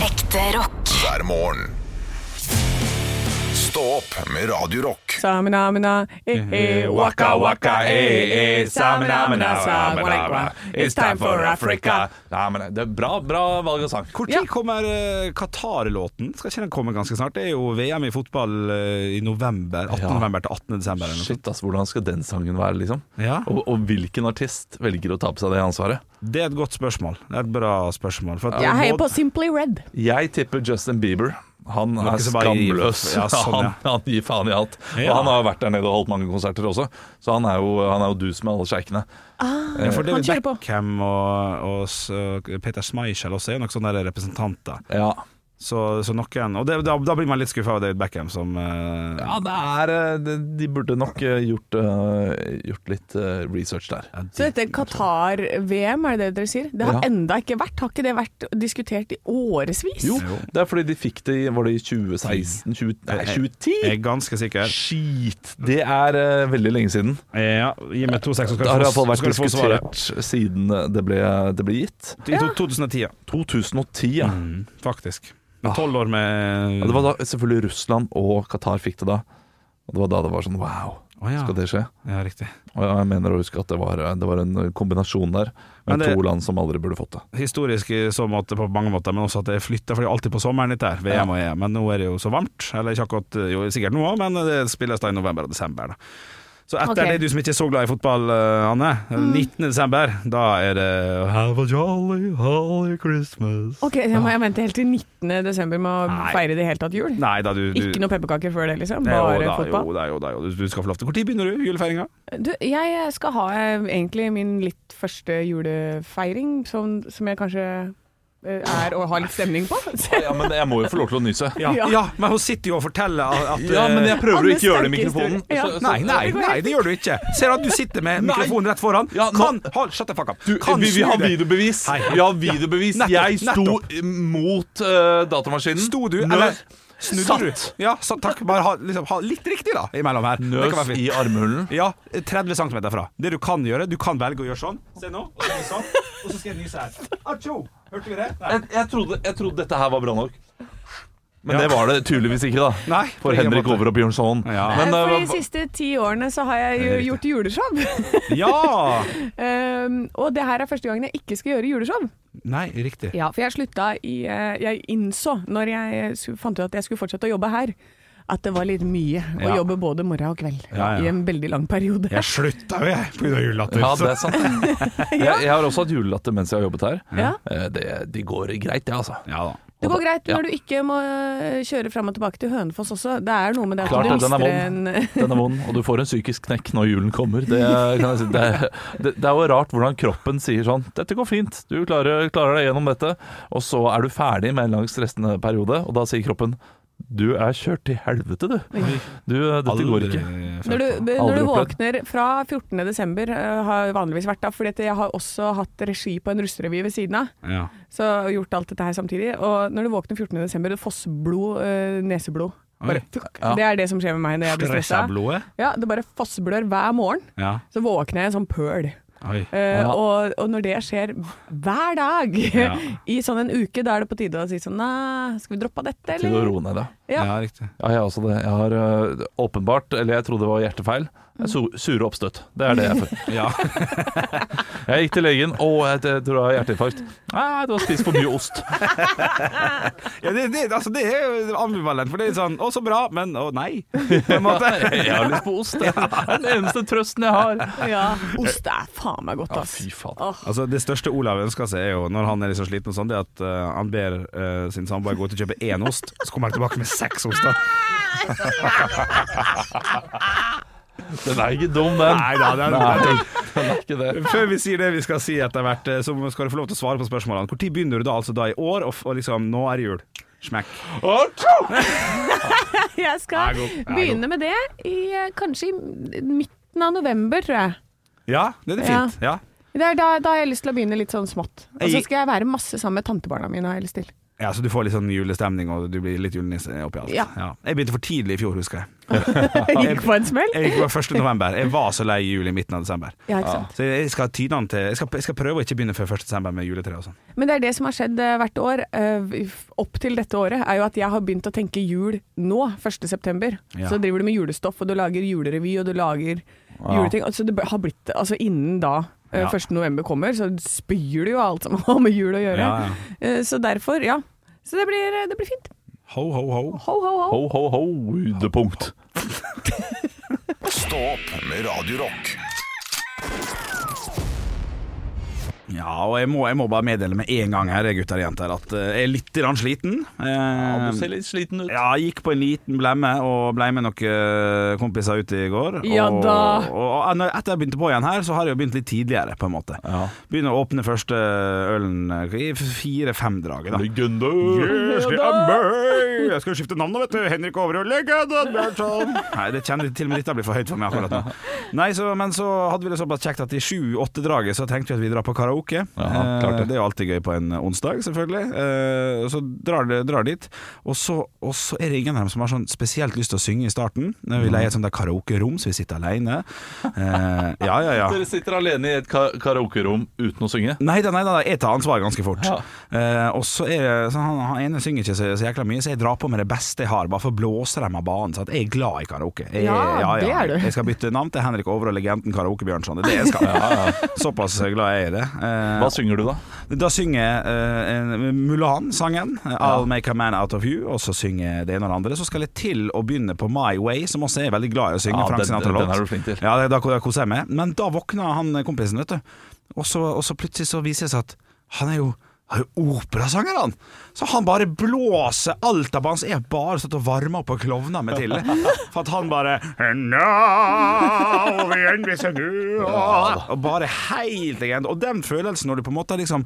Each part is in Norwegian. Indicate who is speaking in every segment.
Speaker 1: Ekte rock.
Speaker 2: hver morgen. Stå opp med Radio Rock.
Speaker 3: Samina-mina, eh, eh, waka waka, eh, eh, samina-mina, samina-mina. It's time for Africa.
Speaker 4: Samina- Det er bra, bra valg av sang.
Speaker 3: Ja.
Speaker 5: Når kommer eh, Qatar-låten? Skal ikke den komme ganske snart? Det er jo VM i fotball eh, i november. 18.
Speaker 4: Ja.
Speaker 5: november til 18. desember. Eller noe sånt.
Speaker 4: Shit, ass, hvordan skal den sangen være, liksom?
Speaker 5: Ja.
Speaker 4: Og, og hvilken artist velger å ta på seg det ansvaret?
Speaker 5: Det er et godt spørsmål. Det er et bra spørsmål. For at
Speaker 3: Jeg heier på
Speaker 5: både-
Speaker 3: Simply Red.
Speaker 4: Jeg tipper Justin Bieber. Han
Speaker 5: Noe
Speaker 4: er
Speaker 5: som bare gir-
Speaker 4: skamløs.
Speaker 5: Ja, sånn, ja.
Speaker 4: han, han gir faen i alt. Og
Speaker 5: Ja.
Speaker 4: han har vært der nede og holdt mange konserter også, så han er jo, han er jo dus med alle sjeikene.
Speaker 5: ja, for
Speaker 3: han
Speaker 5: David
Speaker 3: kjører på.
Speaker 5: Beckham og, og, s- og Peter Schmeichel også er jo nok sånne der representanter.
Speaker 4: Ja.
Speaker 5: Så, så noen Og det, da, da blir man litt skuffa over David Beckham, som eh,
Speaker 4: ja, det er eh, det- De burde nok eh, gjort, eh, gjort litt eh, research der.
Speaker 5: ja,
Speaker 3: Så dette Qatar-VM, er det det dere sier? Det har
Speaker 4: Ja.
Speaker 3: enda ikke vært. Har ikke det vært diskutert i årevis?
Speaker 4: Jo, det er fordi de fikk det i Var det i 2016? 20, nei,
Speaker 5: Jeg
Speaker 4: 2010?
Speaker 5: er ganske sikker.
Speaker 4: Skit! Det er eh, veldig lenge siden.
Speaker 5: Ja, gi meg to seks, så
Speaker 4: Det
Speaker 5: skal
Speaker 4: har
Speaker 5: du
Speaker 4: i
Speaker 5: få,
Speaker 4: hvert fall vært
Speaker 5: så skal du få svaret.
Speaker 4: diskutert siden det ble, det ble gitt.
Speaker 5: I to- 2010, ja.
Speaker 4: 2010, ja.
Speaker 5: Mm.
Speaker 4: Ah.
Speaker 5: Faktisk. Med tolv år med
Speaker 4: ja. Det var da selvfølgelig Russland og Qatar fikk det da. Og det var da det var sånn wow,
Speaker 5: Å, ja.
Speaker 4: skal det skje?
Speaker 5: Ja, riktig.
Speaker 4: Og jeg mener å huske at det var, eh, det var en kombinasjon der
Speaker 5: Men
Speaker 4: med
Speaker 5: det-
Speaker 4: to land som aldri burde fått det.
Speaker 5: historisk i så måte på mange måter, men også at det flytter, for det er alltid på sommeren litt der, VM og EM, men nå er det jo så varmt, eller ikke akkurat, jo sikkert nå også, men det spilles da i november og desember da. Så etter
Speaker 3: Ok.
Speaker 5: det du som ikke er så glad i fotball, eh, Anne,
Speaker 4: Mm.
Speaker 5: 19. desember, da er det Have a jolly, holly Christmas.
Speaker 3: Ok, jeg, må, jeg mente helt til 19. desember med å
Speaker 5: Nei.
Speaker 3: feire i det hele tatt jul.
Speaker 5: Nei da, du... du
Speaker 3: Ikke noe pepperkaker før det, liksom.
Speaker 5: Nei,
Speaker 3: Bare
Speaker 5: jo, da,
Speaker 3: fotball.
Speaker 5: Jo da, jo da, jo. Du skal få lov til. Hvor tid begynner du julefeiringa?
Speaker 3: Du, jeg skal ha eh, egentlig min litt første julefeiring, som, som jeg kanskje eh, er og har litt stemning på.
Speaker 4: Ja, men jeg må jo få lov til å nyse.
Speaker 5: Ja.
Speaker 3: Ja.
Speaker 5: ja, men hun sitter jo og forteller at... at,
Speaker 4: Ja, men jeg prøver å
Speaker 3: Annes
Speaker 4: ikke gjøre det i
Speaker 3: sterke historie.
Speaker 4: mikrofonen.
Speaker 3: Ja.
Speaker 4: Så- så-
Speaker 5: Nei, nei, nei, det gjør du ikke. Ser du at du sitter med
Speaker 4: Nei.
Speaker 5: mikrofonen rett foran?
Speaker 4: Ja, nå-
Speaker 5: Kan, hold, shut the fuck up.
Speaker 4: Du,
Speaker 5: Kan
Speaker 4: vi, vi
Speaker 5: snu
Speaker 4: har
Speaker 5: deg.
Speaker 4: videobevis.
Speaker 5: Hei.
Speaker 4: Vi har videobevis.
Speaker 5: Nettopp,
Speaker 4: jeg sto
Speaker 5: nettopp.
Speaker 4: mot eh, datamaskinen.
Speaker 5: Sto du,
Speaker 4: Nøs-
Speaker 5: eller snudde
Speaker 4: Satt.
Speaker 5: du? Ja, så takk. Bare ha, liksom, ha litt riktig da, imellom her. Det kan
Speaker 4: Nøs
Speaker 5: være fint.
Speaker 4: i armhulen.
Speaker 5: Ja, 30 cm fra. Det du kan gjøre, du kan velge å gjøre sånn. Se nå, og så gjør jeg sånn, og så skal jeg nyse her. Atsjo! Hørte vi det? Nei.
Speaker 4: Jeg, jeg, trodde, jeg trodde dette her var bra nok. Men
Speaker 5: Ja.
Speaker 4: det var det tydeligvis ikke, da.
Speaker 5: Nei, på
Speaker 4: For
Speaker 5: ingen
Speaker 4: Henrik
Speaker 5: måte.
Speaker 4: Over og Bjørnson.
Speaker 5: Ja.
Speaker 4: Men,
Speaker 3: Eh, For
Speaker 4: eh,
Speaker 3: de siste ti årene så har jeg jo
Speaker 5: riktig.
Speaker 3: gjort juleshow.
Speaker 5: Ja!
Speaker 3: um, og det her er første gangen jeg ikke skal gjøre juleshow.
Speaker 5: Nei, riktig.
Speaker 3: Ja, for jeg slutta i eh, Jeg innså, når jeg su- fant ut at jeg skulle fortsette å jobbe her, at det var litt mye å
Speaker 5: Ja.
Speaker 3: jobbe både morgen og kveld
Speaker 5: Ja, ja.
Speaker 3: i en veldig lang periode.
Speaker 5: Jeg slutta jo, jeg, pga. julelatter.
Speaker 4: ja,
Speaker 5: Så-
Speaker 4: det er sant. Jeg,
Speaker 3: Ja.
Speaker 4: jeg har også hatt julelatter mens jeg har jobbet her.
Speaker 3: Ja.
Speaker 4: Eh, Det, det går greit, det, altså.
Speaker 5: ja da.
Speaker 3: Det går greit
Speaker 4: Ja.
Speaker 3: når du ikke må eh, kjøre fram og tilbake til Hønefoss også. Det er noe med det at
Speaker 4: Klart
Speaker 3: du
Speaker 4: det, den er
Speaker 3: mister en
Speaker 4: vond. Den er vond, og du får en psykisk knekk når julen kommer. Det, kan jeg si. det, det, det er jo rart hvordan kroppen sier sånn 'Dette går fint, du klarer, klarer deg gjennom dette.' Og så er du ferdig med en lang stressende periode, og da sier kroppen 'Du er kjørt til helvete, du. du eh, dette går ikke'.
Speaker 3: Når du, når
Speaker 4: Aldri
Speaker 3: du
Speaker 4: opplevd.
Speaker 3: våkner fra 14. desember, eh, har jeg vanligvis vært da, fordi at jeg har også hatt regi på en russerevy ved siden av.
Speaker 5: Ja.
Speaker 3: Så jeg har gjort alt dette her samtidig. Og når du våkner 14. desember, det fosser blod, eh, neseblod. Bare,
Speaker 5: Oi.
Speaker 3: tuk,
Speaker 4: Ja.
Speaker 3: Det er det som skjer med meg når jeg blir
Speaker 5: Stressa
Speaker 3: stressa.
Speaker 5: blodet?
Speaker 3: Ja, det bare fossblør hver morgen.
Speaker 5: Ja.
Speaker 3: Så våkner jeg i en sånn pøl.
Speaker 5: Oi.
Speaker 3: Eh,
Speaker 4: Ja.
Speaker 3: og, og når det skjer hver dag
Speaker 5: Ja.
Speaker 3: i sånn en uke, da er det på tide å si sånn Nei, skal vi droppe dette,
Speaker 4: Til å
Speaker 3: eller?
Speaker 4: roe ned, da.
Speaker 3: Ja.
Speaker 5: ja, riktig.
Speaker 4: Ja, jeg har også det. Jeg har øh, åpenbart, eller jeg trodde det var hjertefeil, Jeg er su- sure oppstøt. Det er det jeg får.
Speaker 5: Ja.
Speaker 4: Jeg gikk til legen. 'Å, jeg t- tror jeg har hjerteinfarkt.' 'Nei, du har spist for mye ost.'
Speaker 5: Ja, det, det, altså, det er jo ambivalent, for det er sånn Å, så bra, men å, nei. På en måte.
Speaker 4: Jeg har lyst på ost. Det er den eneste trøsten jeg har.
Speaker 3: ja. Ost er faen meg godt,
Speaker 4: Ja,
Speaker 3: ass.
Speaker 4: fy faen.
Speaker 3: Åh.
Speaker 5: Altså Det største Olav ønsker seg, er jo når han er liksom sliten, og sånn Det er at eh, han ber eh, sin samboer gå ut og kjøpe én ost, så kommer han tilbake med seks oster.
Speaker 4: Den er ikke dum, den.
Speaker 5: Nei da, det er-
Speaker 4: den er ikke det.
Speaker 5: Før vi sier det vi skal si etter hvert, eh, så skal du få lov til å svare på spørsmålene. Når begynner du da altså da i år, og, f- og liksom Nå er det jul. Smekk.
Speaker 3: Jeg
Speaker 5: Jeg er
Speaker 3: skal
Speaker 5: god. Jeg er
Speaker 3: begynne med det i eh, kanskje i midten av november, tror jeg.
Speaker 5: Ja, det er det
Speaker 3: Ja.
Speaker 5: fint. Ja.
Speaker 3: Det er da, da har jeg lyst til å begynne litt sånn smått. Og så
Speaker 5: Jeg-
Speaker 3: skal jeg være masse sammen med tantebarna mine, har jeg lyst til.
Speaker 5: Ja, så du får litt sånn julestemning, og du blir litt julenisse oppi alt.
Speaker 6: Ja.
Speaker 5: Jeg begynte for tidlig i fjor, husker jeg.
Speaker 6: Gikk på en smell.
Speaker 5: Jeg gikk på 1. november. Jeg var så lei jul i midten av desember.
Speaker 6: Ja, ikke sant?
Speaker 5: Så jeg skal, tyde den til, jeg, skal, jeg skal prøve å ikke begynne før 1. desember med juletre og sånn.
Speaker 6: Men det er det som har skjedd eh, hvert år, eh, opp til dette året, er jo at jeg har begynt å tenke jul nå, 1. september.
Speaker 5: Ja.
Speaker 6: Så driver du med julestoff, og du lager julerevy, og du lager juleting. Altså, det har blitt, altså innen da eh,
Speaker 5: Ja.
Speaker 6: 1. november kommer, så spyr du jo alt som har med jul å gjøre.
Speaker 5: Ja, ja.
Speaker 6: Eh, Så derfor, ja. Så det blir, eh, det blir fint.
Speaker 5: Ho, ho, ho.
Speaker 6: Ho, ho, ho.
Speaker 4: Ho, ho, ho, høydepunkt.
Speaker 2: Stå opp med Radio Rock.
Speaker 5: Ja, og jeg må, jeg må bare meddele med en gang her, gutter og jenter, at eh, jeg er litt grann sliten. Eh,
Speaker 4: litt sliten ut.
Speaker 5: ja, jeg gikk på en liten blemme og ble med noen eh, kompiser ut i går.
Speaker 6: Ja
Speaker 5: og,
Speaker 6: da.
Speaker 5: Og, og når- etter jeg begynte på igjen her, så har jeg jo begynt litt tidligere, på en måte.
Speaker 4: Ja.
Speaker 5: Begynner å åpne første ølen i fire-fem draget, da.
Speaker 4: Legende.
Speaker 5: Yes, det er meg! Jeg skal skifte navn nå, vet du. Henrik Overhaug. Legenden Bjørnson. Nei, det kjenner til og med dette blir for høyt for meg akkurat nå. Nei, så, Men så hadde vi det såpass kjekt at i sju-åtte-draget så tenkte vi at vi drar på karaoke.
Speaker 4: Jaha, klart det.
Speaker 5: Eh, det er jo alltid gøy på en onsdag, selvfølgelig. Eh, Så drar, det, drar dit. Og så, og så er det ingen av dem som har sånn spesielt lyst til å synge i starten. Vi leier et sånt der karaokerom, så vi sitter alene. Eh, Ja, ja, ja.
Speaker 4: Dere sitter alene i et ka karaokerom uten å synge.
Speaker 5: Nei da, nei da, jeg tar ansvar ganske fort.
Speaker 4: Ja.
Speaker 5: Eh, og så er det sånn, han, han ene synger ikke så, så jækla mye, så jeg drar på med det beste jeg har, bare for å blåse dem av banen. Så at jeg er glad i karaoke. Jeg,
Speaker 6: Ja, det er du.
Speaker 5: Jeg skal bytte navn til Henrik Over og legenden Karaoke Bjørnson. Det er det jeg skal. Såpass glad er jeg i det. Eh,
Speaker 4: Hva synger du, da?
Speaker 5: da synger jeg eh, en- Mulan-sangen, eh, 'I'll Make a Man Out of You', og så synger jeg det ene og det andre. Så skal jeg til å begynne på 'My Way', som også er veldig glad i å synge.
Speaker 4: Ja,
Speaker 5: Frank
Speaker 4: den-
Speaker 5: Sinatra-låt.
Speaker 4: den er du flink til.
Speaker 5: Ja, det, da, da koser jeg meg. Men da våkna han eh, kompisen, vet du. Og så, og så plutselig så viser det seg at han er jo han er jo operasanger, han! Så han bare blåser alt av banen. Så jeg har bare stått og varma opp og klovna med til. For at han bare And now the end is near. Og bare helt legend. Og den følelsen når du på en måte har liksom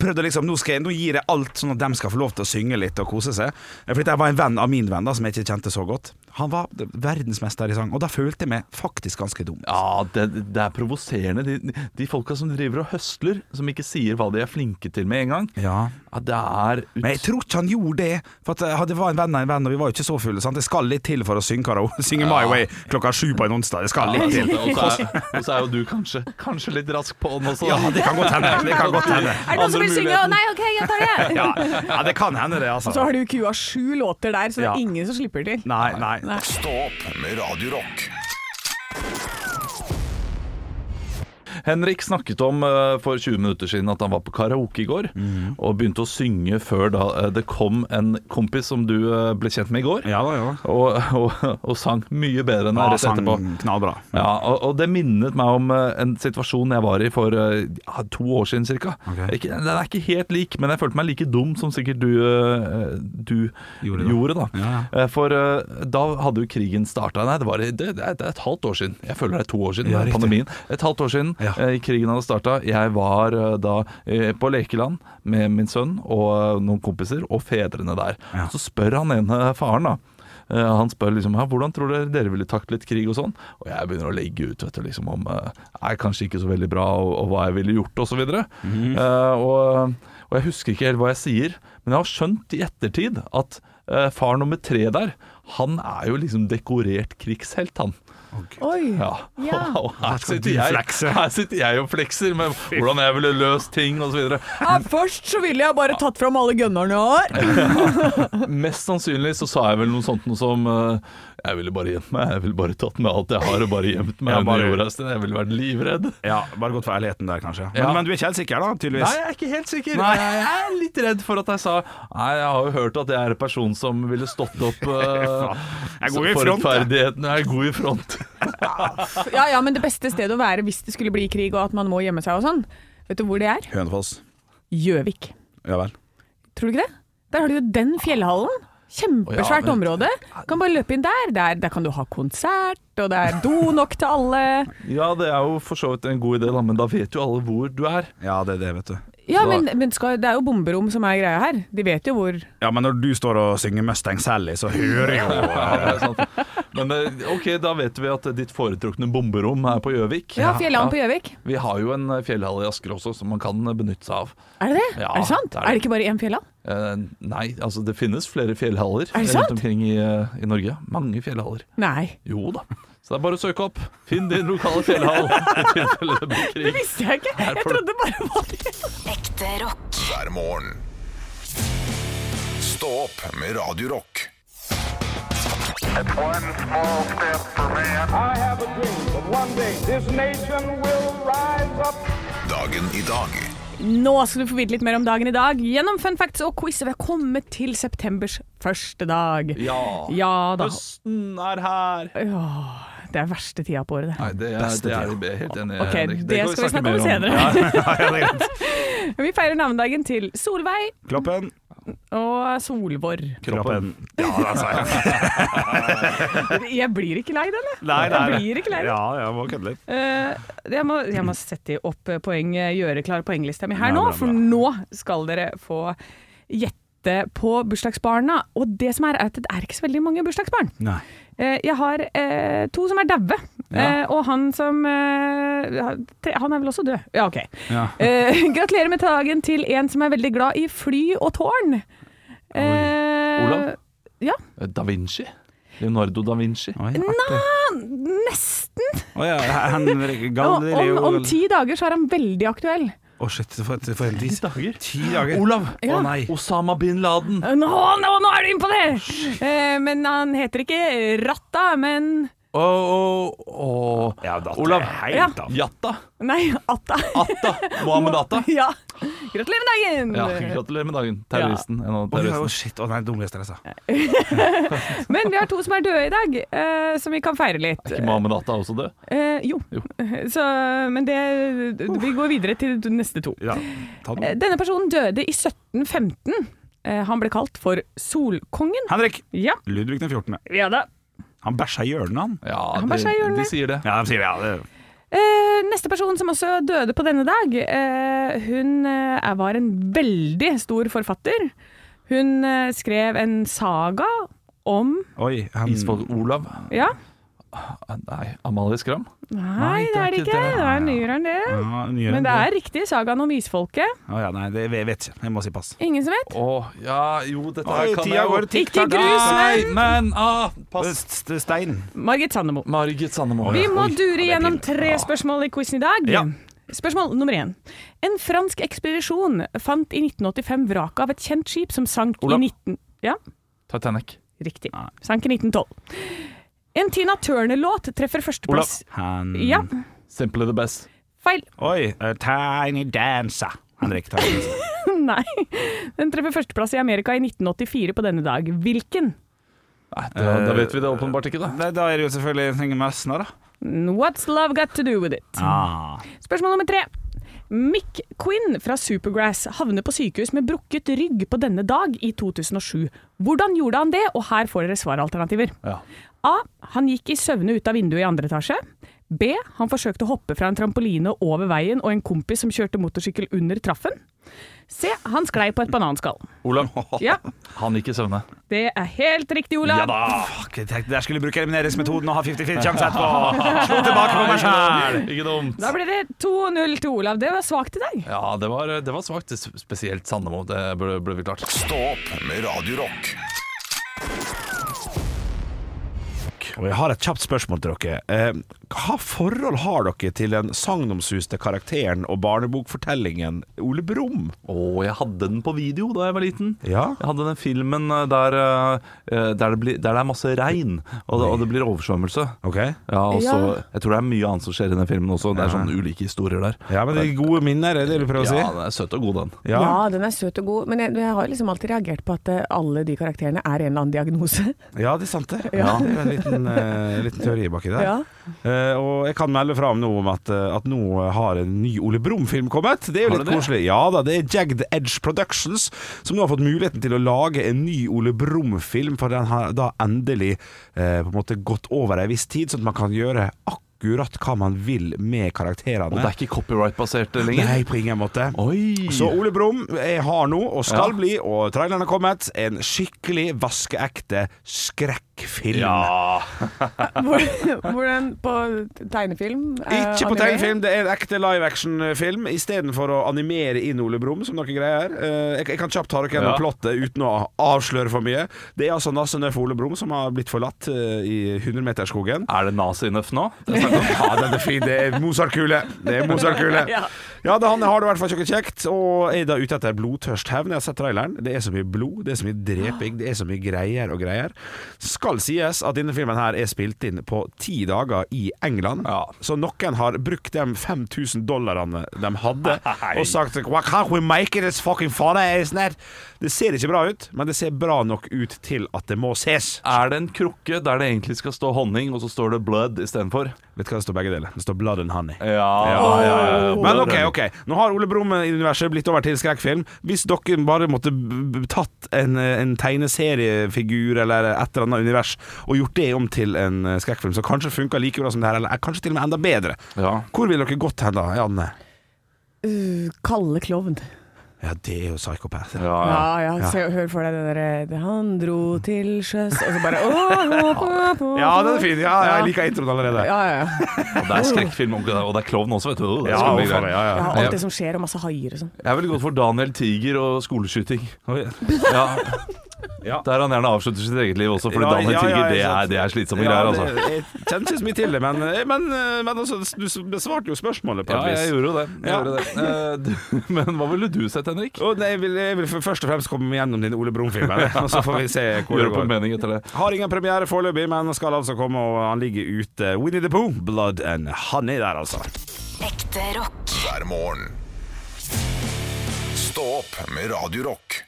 Speaker 5: prøvd å liksom Nå, skal jeg, nå gir jeg alt sånn at dem skal få lov til å synge litt og kose seg. For dette var en venn av min venn da som jeg ikke kjente så godt. Han var verdensmester i sang, og da følte jeg meg faktisk ganske dum.
Speaker 4: Ja, det, det er provoserende. De, de folka som driver og høsler, som ikke sier hva de er flinke til med en gang.
Speaker 5: Ja.
Speaker 4: Ja, det er ut...
Speaker 5: Men jeg tror ikke han gjorde det. For at eh, Det var en venn av en venn, og vi var jo ikke så fulle. Sant? Det skal litt til for å synge, karaoke, synge My Way klokka sju på en onsdag. Det skal
Speaker 4: Ja,
Speaker 5: litt
Speaker 4: sant
Speaker 5: til.
Speaker 4: det. Og så er, og så er jo du kanskje, kanskje litt rask på den også.
Speaker 5: Ja, det kan godt hende. Det kan godt hende.
Speaker 6: Er det noen som vil synge? Å, Nei, OK, jeg tar det. jeg.
Speaker 5: Ja, ja, det kan hende, det,
Speaker 6: Så
Speaker 5: altså.
Speaker 6: har du kua sju låter der, så det
Speaker 5: Ja.
Speaker 6: er ingen som slipper til.
Speaker 5: Nei, nei.
Speaker 2: Stå opp med Radio Rock.
Speaker 4: Henrik snakket om eh, for 20 minutter siden at han var på karaoke i går,
Speaker 5: Mhm.
Speaker 4: og begynte å synge før da eh, det kom en kompis som du eh, ble kjent med i går,
Speaker 5: Ja da, ja da.
Speaker 4: og, og, og sang mye bedre enn
Speaker 5: Ja,
Speaker 4: deg rett
Speaker 5: sang
Speaker 4: etterpå.
Speaker 5: knallbra.
Speaker 4: Ja, og, og det minnet meg om eh, en situasjon jeg var i for eh, ja, to år siden cirka.
Speaker 5: Ok.
Speaker 4: Ikke, den er ikke helt lik, men jeg følte meg like dum som sikkert du, eh, du
Speaker 5: Gjorde
Speaker 4: gjorde.
Speaker 5: det.
Speaker 4: da.
Speaker 5: Ja,
Speaker 4: Eh, For eh, da hadde jo krigen starta. Nei, det, var, i- det, det er- det er et halvt år siden. Jeg føler det er to år siden. det
Speaker 5: Ja,
Speaker 4: er
Speaker 5: riktig.
Speaker 4: pandemien. Et halvt år siden
Speaker 5: Ja.
Speaker 4: eh, krigen hadde starta. Jeg var eh, da eh, på lekeland med min sønn og eh, noen kompiser, og fedrene der.
Speaker 5: Ja.
Speaker 4: Så spør han ene faren, da. Eh, Han spør liksom ja, hvordan tror dere dere ville taklet krig og sånn. Og jeg begynner å legge ut vet du, liksom, om eh, er kanskje ikke så veldig bra, og, og hva jeg ville gjort, osv. Mm. og, og jeg husker ikke helt hva jeg sier, men jeg har skjønt i ettertid at eh, far nummer tre der, han er jo liksom dekorert krigshelt, han.
Speaker 6: Oi.
Speaker 4: Ja.
Speaker 6: Ja.
Speaker 4: Og her,
Speaker 5: skal
Speaker 4: sitter
Speaker 5: du
Speaker 4: jeg,
Speaker 5: flekse.
Speaker 4: her sitter jeg og flekser med hvordan jeg ville løst ting osv.
Speaker 6: Ja, først så ville jeg bare tatt fram alle gunnerne jeg har.
Speaker 4: Mest sannsynlig så sa jeg vel noe sånt noe som eh, Jeg ville bare gjemt meg, jeg ville bare tatt med alt jeg har og bare gjemt meg
Speaker 5: Ja, bare-
Speaker 4: under jorda et sted. Jeg ville vært livredd.
Speaker 5: Ja, Bare godt for ærligheten der, kanskje. Men,
Speaker 4: Ja.
Speaker 5: men du er ikke helt sikker, da, tydeligvis?
Speaker 4: Nei, jeg er ikke helt sikker.
Speaker 5: Nei.
Speaker 4: Jeg er litt redd for at jeg sa Nei, jeg har jo hørt at jeg er en person som ville stått opp eh,
Speaker 5: Jeg går i
Speaker 4: for
Speaker 5: front, jeg.
Speaker 4: rettferdigheten. Jeg er god i front.
Speaker 6: Ja, ja, men det beste stedet å være hvis det skulle bli krig og at man må gjemme seg og sånn, vet du hvor det er?
Speaker 5: Hønefoss.
Speaker 6: Gjøvik.
Speaker 5: Ja vel.
Speaker 6: Tror du ikke det? Der har du jo den fjellhallen.
Speaker 4: Å ja,
Speaker 6: Kjempesvært
Speaker 4: men-
Speaker 6: område. Kan bare løpe inn der. der. Der kan du ha konsert, og det er do nok til alle.
Speaker 4: Ja, det er jo for så vidt en god idé, da, men da vet jo alle hvor du er.
Speaker 5: Ja, det er det, vet du.
Speaker 6: Ja,
Speaker 4: Da-
Speaker 6: men, men skal, det er jo bomberom som er greia her. De vet jo hvor
Speaker 5: Ja, men når du står og synger Mustang Sally, så hører jeg jo
Speaker 4: Ja, det er sant. Men eh, ok, da vet vi at ditt foretrukne bomberom er på Gjøvik.
Speaker 6: Ja, fjellhallen på Gjøvik.
Speaker 4: Vi har jo en fjellhall i Asker også som man kan benytte seg av.
Speaker 6: Er det det?
Speaker 4: Ja,
Speaker 6: er det sant?
Speaker 4: det er
Speaker 6: Er
Speaker 4: det.
Speaker 6: det, ikke bare én fjellhall?
Speaker 4: Eh, nei, altså det finnes flere fjellhaller
Speaker 3: Er det sant?
Speaker 4: rundt omkring i, eh, i Norge. Mange fjellhaller.
Speaker 3: Nei.
Speaker 4: Jo da. Så det er bare å søke opp. Finn din lokale fjellhall. i tilfelle det blir
Speaker 3: Det
Speaker 4: krig.
Speaker 3: visste jeg ikke! Jeg
Speaker 4: får du-
Speaker 3: trodde bare det var det.
Speaker 1: Ekte rock.
Speaker 2: hver morgen. Stå opp med Radio Rock.
Speaker 7: One small step for man.
Speaker 8: I have a dream that one day this nation will rise up.
Speaker 2: Dagen i dag
Speaker 3: Nå skal du få vite litt mer om dagen i dag gjennom fun facts og quiz. og Vi har kommet til septembers første dag.
Speaker 4: Ja.
Speaker 3: Ja da.
Speaker 4: Høsten er her.
Speaker 3: Åh, det er verste tida på året, det.
Speaker 4: Nei, det er, det er jeg helt enig i.
Speaker 3: Ok,
Speaker 4: Henrik.
Speaker 3: det
Speaker 4: kan
Speaker 3: skal vi snakke om
Speaker 4: mer
Speaker 3: senere.
Speaker 4: Ja.
Speaker 3: Vi feirer navnedagen til Solveig
Speaker 5: Kloppen.
Speaker 3: og Solvor.
Speaker 4: Kroppen.
Speaker 5: Ja, det sa jeg.
Speaker 3: Jeg blir ikke lei den, jeg.
Speaker 5: Nei, nei, nei.
Speaker 3: Jeg blir ikke lei den.
Speaker 5: Ja, jeg må kødde litt.
Speaker 3: Eh, jeg, må, jeg må sette opp poeng, gjøre klar poenglista mi her
Speaker 5: Ja,
Speaker 3: nå,
Speaker 5: bra, bra.
Speaker 3: for nå skal dere få gjette på bursdagsbarna. Og det som er, er at det er ikke så veldig mange bursdagsbarn.
Speaker 5: Nei.
Speaker 3: Eh, jeg har eh, to som er daue,
Speaker 5: Ja.
Speaker 3: eh, og han som eh, ha- tre, Han er vel også død? Ja, OK.
Speaker 5: Ja.
Speaker 3: Eh, gratulerer med dagen til en som er veldig glad i fly og tårn. Eh,
Speaker 4: Olav?
Speaker 3: Ja,
Speaker 4: Eh, Da Vinci. Leonardo da Vinci.
Speaker 5: Oi, artig.
Speaker 3: nesten.
Speaker 5: Å ja, Henrik
Speaker 3: Og om,
Speaker 5: Galileo
Speaker 3: om ti dager så er han veldig aktuell.
Speaker 5: Å, shit, det får det får en dis.
Speaker 4: dager.
Speaker 5: Ti dager.
Speaker 4: Olav!
Speaker 3: Ja.
Speaker 5: Å nei.
Speaker 4: Osama bin Laden.
Speaker 3: Nå, Eh, nå, nå er du inne på det! Eh, men han heter ikke Ratta, men
Speaker 4: Å, å, å.
Speaker 5: Ja, da,
Speaker 4: Olav.
Speaker 3: Ja.
Speaker 5: Helt, da.
Speaker 4: Jatta.
Speaker 3: Nei, Atta.
Speaker 4: Atta. Mohammed Atta.
Speaker 3: Ja. Gratulerer med dagen!
Speaker 4: Ja, gratulerer med dagen. Terroristen. En av
Speaker 5: Å ja, å,
Speaker 4: terroristene.
Speaker 5: shit, å nei, altså. nå blir jeg stressa.
Speaker 3: Men vi har to som er døde i dag, eh, som vi kan feire litt.
Speaker 4: Ikke Mohammed Atta også død?
Speaker 3: Eh, jo.
Speaker 4: Jo.
Speaker 3: Så, men det Vi går videre til de neste to.
Speaker 5: Ja, ta
Speaker 3: Eh,
Speaker 5: den.
Speaker 3: Denne personen døde i 1715. Eh, Han ble kalt for Solkongen.
Speaker 5: Henrik!
Speaker 3: Ja,
Speaker 5: Ludvig den 14.
Speaker 3: ja da.
Speaker 5: Han bæsja i hjørnet, han.
Speaker 4: Ja,
Speaker 3: Han
Speaker 4: de,
Speaker 3: bare sier det.
Speaker 4: de sier det.
Speaker 5: Ja, de sier det, ja. Det.
Speaker 3: Eh, neste person som også døde på denne dag, eh, hun eh, er- var en veldig stor forfatter. Hun eh, skrev en saga om
Speaker 5: Oi, han
Speaker 4: Isfolk Olav.
Speaker 3: Ja,
Speaker 4: Nei, Amalie Skram.
Speaker 3: nei, det er det ikke. Det er nyere enn det.
Speaker 5: Ja, nyere
Speaker 3: Men
Speaker 5: enn
Speaker 3: det er riktig sagaen om isfolket.
Speaker 5: Å ja, nei, det jeg vet ikke. Jeg må si pass.
Speaker 3: Ingen som vet?
Speaker 4: Å, ja, jo, dette
Speaker 5: Oi,
Speaker 4: her kan
Speaker 5: tida
Speaker 4: jeg
Speaker 5: går
Speaker 4: jo.
Speaker 5: tikk
Speaker 3: Ikke
Speaker 5: takk.
Speaker 3: grus,
Speaker 4: Nei, men ah, pass.
Speaker 5: St- st- Stein.
Speaker 3: Margit Sandemo.
Speaker 4: Margit Sandemo.
Speaker 3: Vi må
Speaker 5: Oi,
Speaker 3: dure
Speaker 5: det er
Speaker 3: gjennom
Speaker 5: pinlig.
Speaker 3: tre spørsmål i quizen i dag.
Speaker 5: Ja.
Speaker 3: Spørsmål nummer én. En fransk ekspedisjon fant i 1985 vraket av et kjent skip som sank
Speaker 4: Olav.
Speaker 3: i 19... Ja,
Speaker 4: Titanic.
Speaker 3: riktig.
Speaker 5: Nei.
Speaker 3: Sank i 1912. En Tina Turner-låt treffer førsteplass
Speaker 5: Han
Speaker 3: Ja,
Speaker 5: Mm.
Speaker 4: Simply the best.
Speaker 3: feil.
Speaker 5: Oi. A tiny dancer. Henrik, ta den.
Speaker 3: Nei. Den treffer førsteplass i Amerika i 1984 på denne dag. Hvilken?
Speaker 4: Nei, da, da vet vi det åpenbart ikke, da.
Speaker 5: Nei, Da er det jo selvfølgelig Inge Messner, da.
Speaker 3: What's love got to do with it?
Speaker 5: Ah.
Speaker 3: Spørsmål nummer tre. Mick Quinn fra Supergrass havner på sykehus med brukket rygg på denne dag i 2007. Hvordan gjorde han det? Og her får dere svaralternativer.
Speaker 4: Ja.
Speaker 3: A. Han gikk i søvne ut av vinduet i andre etasje. B. Han forsøkte å hoppe fra en trampoline over veien og en kompis som kjørte motorsykkel under traffen. C. Han sklei på et bananskall.
Speaker 4: Olav.
Speaker 3: Ja,
Speaker 4: Han gikk i søvne.
Speaker 3: det er helt riktig, Olav.
Speaker 5: Ja da! Fuck, jeg tenkte der skulle jeg bruke elimineringsmetoden og ha 50-50 sjanse etterpå. Slå tilbake på meg sjæl!
Speaker 4: Ikke dumt.
Speaker 3: Da ble det 2-0 til Olav. Det var svakt i dag.
Speaker 4: Ja, det var, det var svakt. Spesielt Sandemo. Det ble, ble vi klart.
Speaker 2: Stå opp med Radio Rock
Speaker 5: Og jeg har et kjapt spørsmål til dere. Eh, hva forhold har dere til den sagnomsuste karakteren og barnebokfortellingen Ole Brumm?
Speaker 4: Å, jeg hadde den på video da jeg var liten.
Speaker 5: Ja.
Speaker 4: Jeg hadde den filmen eh, der, eh, der, det, blir, der det er masse regn, og det, og det blir oversvømmelse.
Speaker 5: Ok
Speaker 4: Ja, og så,
Speaker 3: Ja.
Speaker 4: Jeg tror det er mye annet som skjer i den filmen også. Det er sånne ulike historier der.
Speaker 5: Ja, men de gode minner, er det du prøver å si?
Speaker 4: Ja, den er søt og god, den.
Speaker 5: Ja.
Speaker 3: den er søt og god, men jeg, jeg har liksom alltid reagert på at eh, alle de karakterene er en eller annen diagnose.
Speaker 5: Ja, det er sant det. Ja. Det er en liten, eh, liten teori baki der.
Speaker 3: Ja.
Speaker 5: Eh, og jeg kan melde fra om noe om at, eh, at nå har en ny Ole Brumm-film kommet. Det er jo
Speaker 4: Har
Speaker 5: litt
Speaker 4: det det?
Speaker 5: koselig. Ja da, det er Jagged Edge Productions som nå har fått muligheten til å lage en ny Ole Brumm-film, for den har da endelig eh, på en måte gått over ei viss tid, sånn at man kan gjøre akkurat hva man vil med karakterene.
Speaker 4: Og det er ikke copyright-basert lenger.
Speaker 5: Nei, på ingen måte.
Speaker 4: Oi!
Speaker 5: Mm. Så Ole Brumm jeg har nå, og skal
Speaker 4: Ja.
Speaker 5: bli, og traileren har kommet, en skikkelig vaskeekte skrekk. skrekkfilm.
Speaker 6: Hvor- Hvordan på tegnefilm? eh,
Speaker 5: Ikke på
Speaker 6: anime?
Speaker 5: tegnefilm, det er en ekte live action-film. Istedenfor å animere inn Ole Brumm, som noen greier. Eh, Jeg, jeg kan kjapt ta dere
Speaker 4: Ja.
Speaker 5: gjennom plottet uten å avsløre for mye. Det er altså Nasse Nøff Ole Brumm som har blitt forlatt eh, i 100-meterskogen.
Speaker 4: Er det nazi-nøff nå?
Speaker 5: Ja, den er fin. Det er Mozart-kule. Det er Mozart-kule.
Speaker 6: Ja.
Speaker 5: Ja, det han har det i hvert fall ikke kjekt, og er da ute etter blodtørst hevn. Jeg har sett traileren. Det er så mye blod, det er så mye dreping, det er så mye greier og greier. Skal sies at denne filmen her er spilt inn på ti dager i England,
Speaker 4: Ja.
Speaker 5: så noen har brukt de 5000 dollarene de hadde, og sagt Why can't we make it as fucking funny as that? Det ser ikke bra ut, men det ser bra nok ut til at det må ses.
Speaker 4: Er det en krukke der det egentlig skal stå honning, og så står det blood istedenfor?
Speaker 5: Vet du hva det står begge deler? Det står blood and honey.
Speaker 4: Ja, ja, ja, ja.
Speaker 5: Men ok, ok Nå har Ole Brumm-universet blitt over til skrekkfilm. Hvis dere bare måtte b b tatt en, eh, en tegneseriefigur eller et eller annet univers og gjort det om til en eh, skrekkfilm, som kanskje funka like bra som det her, eller er kanskje til og med enda bedre,
Speaker 4: Ja.
Speaker 5: hvor ville dere gått hen da, Janne?
Speaker 6: Uh, Kalle klovn.
Speaker 5: Ja, det er jo psykopat.
Speaker 4: Ja, ja.
Speaker 6: Ja, ja, se, hør for deg det derre «Det Han dro til sjøs Og så bare «Å, å, å, å, å».
Speaker 5: Ja, den er fin. Ja, ja, jeg liker introen allerede.
Speaker 6: Ja, ja.
Speaker 4: Og det er skrekkfilm, og det er- og det er klovn også, vet du. Det
Speaker 5: Ja,
Speaker 4: skal bli
Speaker 5: faen,
Speaker 4: greit.
Speaker 5: ja,
Speaker 6: ja,
Speaker 5: ja.
Speaker 6: alt det som skjer, og masse haier og sånn.
Speaker 4: Jeg ville gått for Daniel Tiger og skoleskyting. Ja.
Speaker 5: Ja.
Speaker 4: Der han gjerne avslutter sitt eget liv også, fordi
Speaker 5: Ja,
Speaker 4: Daniel
Speaker 5: ja, ja,
Speaker 4: Tiger
Speaker 5: ikke
Speaker 4: det er,
Speaker 5: sant.
Speaker 4: det er slitsomme
Speaker 5: Ja,
Speaker 4: greier,
Speaker 5: det-
Speaker 4: altså.
Speaker 5: Jeg kjente ikke så mye til det, men, men, men altså, du besvarte jo spørsmålet på
Speaker 4: Ja,
Speaker 5: et vis.
Speaker 4: jeg gjorde jo det. Jeg
Speaker 5: Ja.
Speaker 4: gjorde det. Eh, du- Men hva ville du sett, Henrik?
Speaker 5: Og nei, jeg, vil, jeg vil først og fremst komme gjennom din Ole Brumm-filmen, og så får vi se hvor det
Speaker 4: Gjøre på en
Speaker 5: går.
Speaker 4: mening etter det.
Speaker 5: Har ingen premiere foreløpig, men skal altså komme, og han ligger ute. Winnie the Pooh, Blood and Honey der, altså.
Speaker 1: Ekte rock.
Speaker 2: hver morgen. Stå opp med Radio Rock.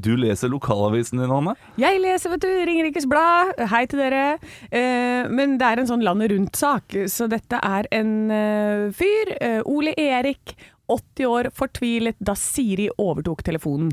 Speaker 4: Du leser lokalavisen din, Hanne.
Speaker 6: Jeg leser, vet du, Ringerikes Blad. Hei til dere. Eh, men det er en sånn landet rundt-sak, så dette er en eh, fyr, eh, Ole Erik. 80 år, fortvilet da Siri overtok telefonen.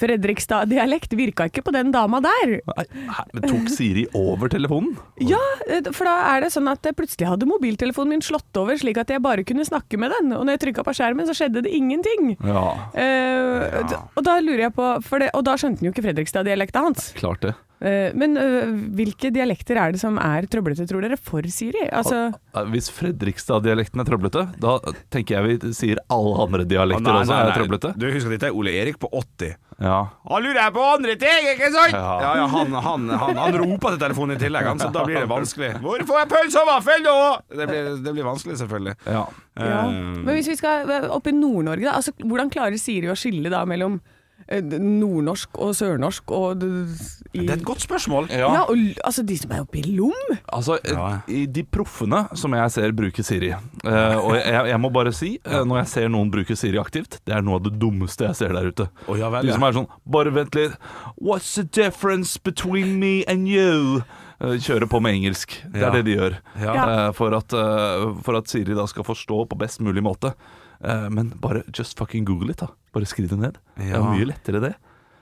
Speaker 6: Fredrikstad-dialekt virka ikke på den dama der.
Speaker 4: Nei, hæ, men Tok Siri over telefonen?
Speaker 6: Ja, eh, for da er det sånn at eh, plutselig hadde mobiltelefonen min slått over, slik at jeg bare kunne snakke med den. Og når jeg trykka på skjermen, så skjedde det ingenting.
Speaker 4: Ja,
Speaker 6: Eh, d- Og da lurer jeg på for det, Og da skjønte han jo ikke Fredrikstad-dialekta hans.
Speaker 4: klart det.
Speaker 6: Eh, Men øh, hvilke dialekter er det som er trøblete, tror dere, for Siri? Altså,
Speaker 4: Eh, Hvis Fredrikstad-dialekten er trøblete, da tenker jeg vi sier alle andre dialekter
Speaker 5: Å, nei,
Speaker 4: også
Speaker 5: nei,
Speaker 4: er
Speaker 5: nei.
Speaker 4: trøblete.
Speaker 5: Du husker at dette er Ole Erik på 80.
Speaker 4: Ja.
Speaker 5: Han lurer jeg på andre ting, ikke sant? Ja,
Speaker 4: Ja.
Speaker 5: ja, han, han, han, han roper til telefonen i tillegg, han, så da blir det vanskelig. Hvor får jeg pølse og vaffel nå? Det blir, det blir vanskelig, selvfølgelig. Eh,
Speaker 4: ja.
Speaker 6: ja. Men hvis vi skal øh, opp i Nord-Norge, da. Altså, hvordan klarer Siri å skille da mellom øh, d- nordnorsk og sørnorsk og d- i,
Speaker 5: Det er et godt spørsmål.
Speaker 6: ja. og l- altså de som er oppe i Lom?
Speaker 4: Altså,
Speaker 5: Ja.
Speaker 4: i de proffene som jeg ser bruker Siri eh, Og jeg, jeg må bare si, eh, når jeg ser noen bruke Siri aktivt Det er noe av det dummeste jeg ser der ute
Speaker 5: Å, ja vel,
Speaker 4: De
Speaker 5: ja.
Speaker 4: som er sånn, bare vent litt What's the difference between me and you? Eh, Kjører på med engelsk Det er
Speaker 5: Ja.
Speaker 4: det de gjør
Speaker 6: Ja.
Speaker 4: Eh, for, at, eh, for at Siri da skal forstå på best mulig måte Eh, Men bare, just fucking google it da Bare skriv det ned Det
Speaker 5: Ja.
Speaker 4: er mye lettere det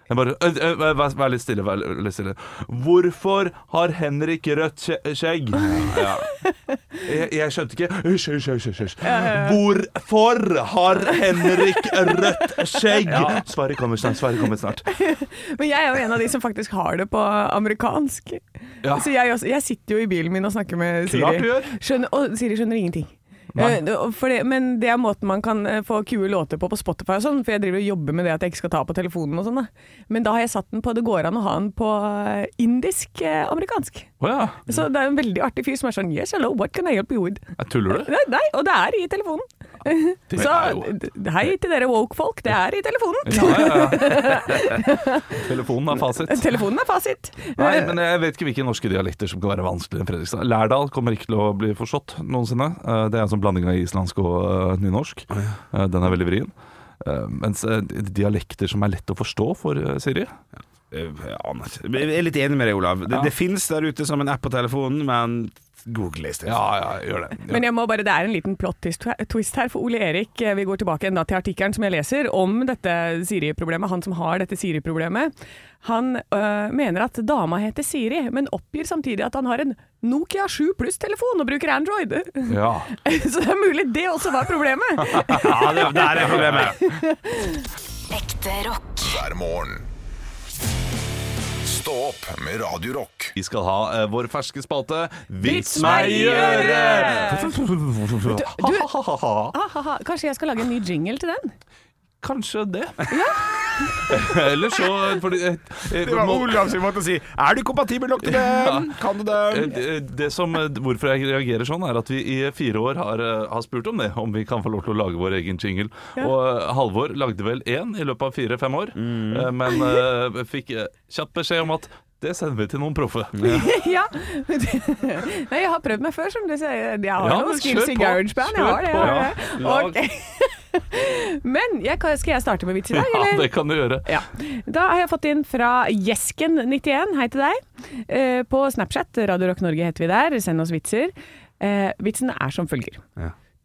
Speaker 4: jeg bare, ø, ø, ø, vær, vær litt stille, vær litt stille. Hvorfor har Henrik rødt skje- skjegg? Jeg, jeg skjønte ikke. Hysj, hysj, hysj, hysj, hysj. Hvorfor har Henrik rødt skjegg? Svaret kommer snart. Svaret kommer snart.
Speaker 6: Men jeg er jo en av de som faktisk har det på amerikansk.
Speaker 4: Ja.
Speaker 6: Så jeg, også, jeg sitter jo i bilen min og snakker med Siri.
Speaker 4: Klart du gjør.
Speaker 6: Skjønner, og Siri skjønner ingenting.
Speaker 4: Nei.
Speaker 6: Eh, det- og for det, men det er måten man kan eh, få kule låter på på Spotify og sånn, for jeg driver og jobber med det at jeg ikke skal ta på telefonen og sånn. da. Men da har jeg satt den på Det går an å ha den på eh, indisk eh, amerikansk.
Speaker 4: Å ja.
Speaker 6: Så det er en veldig artig fyr som er sånn Yes, hello, what can I help you with?
Speaker 4: Jeg tuller du?
Speaker 6: Nei, nei og det er i telefonen.
Speaker 4: Det
Speaker 6: Så
Speaker 4: er jo-
Speaker 6: d- hei til dere woke-folk, det er i telefonen.
Speaker 4: Ja, ja, ja. Telefonen er fasit.
Speaker 6: Telefonen er fasit.
Speaker 4: Nei,
Speaker 5: Eh.
Speaker 4: men jeg vet ikke hvilke norske dialekter som kan være vanskeligere enn Fredrikstad. Lærdal kommer ikke til å bli forstått noensinne. Eh, Det er en sånn blanding av islandsk og eh, nynorsk. Eh, Den er veldig vrien. Eh, Mens eh, dialekter som er lett å forstå for eh, Siri
Speaker 5: Jeg aner ikke. Eh, Jeg er litt enig med deg, Olav. Det, det finnes der ute som en app på telefonen, men google i stedet.
Speaker 4: Ja, ja, gjør det.
Speaker 6: Men jeg må bare, det er en liten plot twist twist her, for Ole Erik eh, vi går tilbake enda til artikkelen som jeg leser om dette Siri-problemet. Han som har dette Siri-problemet. Han øh, mener at dama heter Siri, men oppgir samtidig at han har en Nokia 7 pluss-telefon og bruker Android.
Speaker 4: Ja.
Speaker 6: Så det er mulig det også var problemet.
Speaker 5: Ja, det, der er problemet.
Speaker 1: Ekte rock.
Speaker 2: hver morgen. Stå opp med Radio Rock.
Speaker 9: Vi skal ha eh, vår ferske spalte Vits
Speaker 6: Vits
Speaker 9: meg
Speaker 6: meg
Speaker 9: i
Speaker 6: i
Speaker 9: øret! Ha-ha-ha-ha.
Speaker 6: Ah, ha, ha. Kanskje jeg skal lage en ny jingle til den?
Speaker 4: Kanskje det.
Speaker 9: Eller så fordi, eh, eh,
Speaker 5: Det var
Speaker 9: må-
Speaker 5: Olav sin måte å si 'Er du kompatibel nok til dem? Kan du
Speaker 9: Eh,
Speaker 5: dem?'
Speaker 9: Det det som, eh, hvorfor jeg reagerer sånn, er at vi i fire år har, eh, har spurt om det. Om vi kan få lov til å lage vår egen jingle. Og eh, Halvor lagde vel én i løpet av fire-fem år, eh, men eh, fikk eh, kjapt beskjed om at det sender vi til noen proffe.
Speaker 6: ja. Nei, jeg har prøvd meg før, som du sier. Jeg har
Speaker 9: Ja, men
Speaker 6: noen skills
Speaker 9: kjør
Speaker 6: i
Speaker 9: på.
Speaker 6: GarageBand. Jeg
Speaker 9: Kjør
Speaker 6: har det. Jeg har det. Ok. Men jeg, kan- skal jeg starte med vits i dag,
Speaker 9: Ja,
Speaker 6: eller?
Speaker 9: det kan du gjøre.
Speaker 6: Ja. Da har jeg fått inn fra Jesken91, hei til deg. Eh, På Snapchat, Radio Rock Norge heter vi der, send oss vitser. Eh, Vitsen er som følger.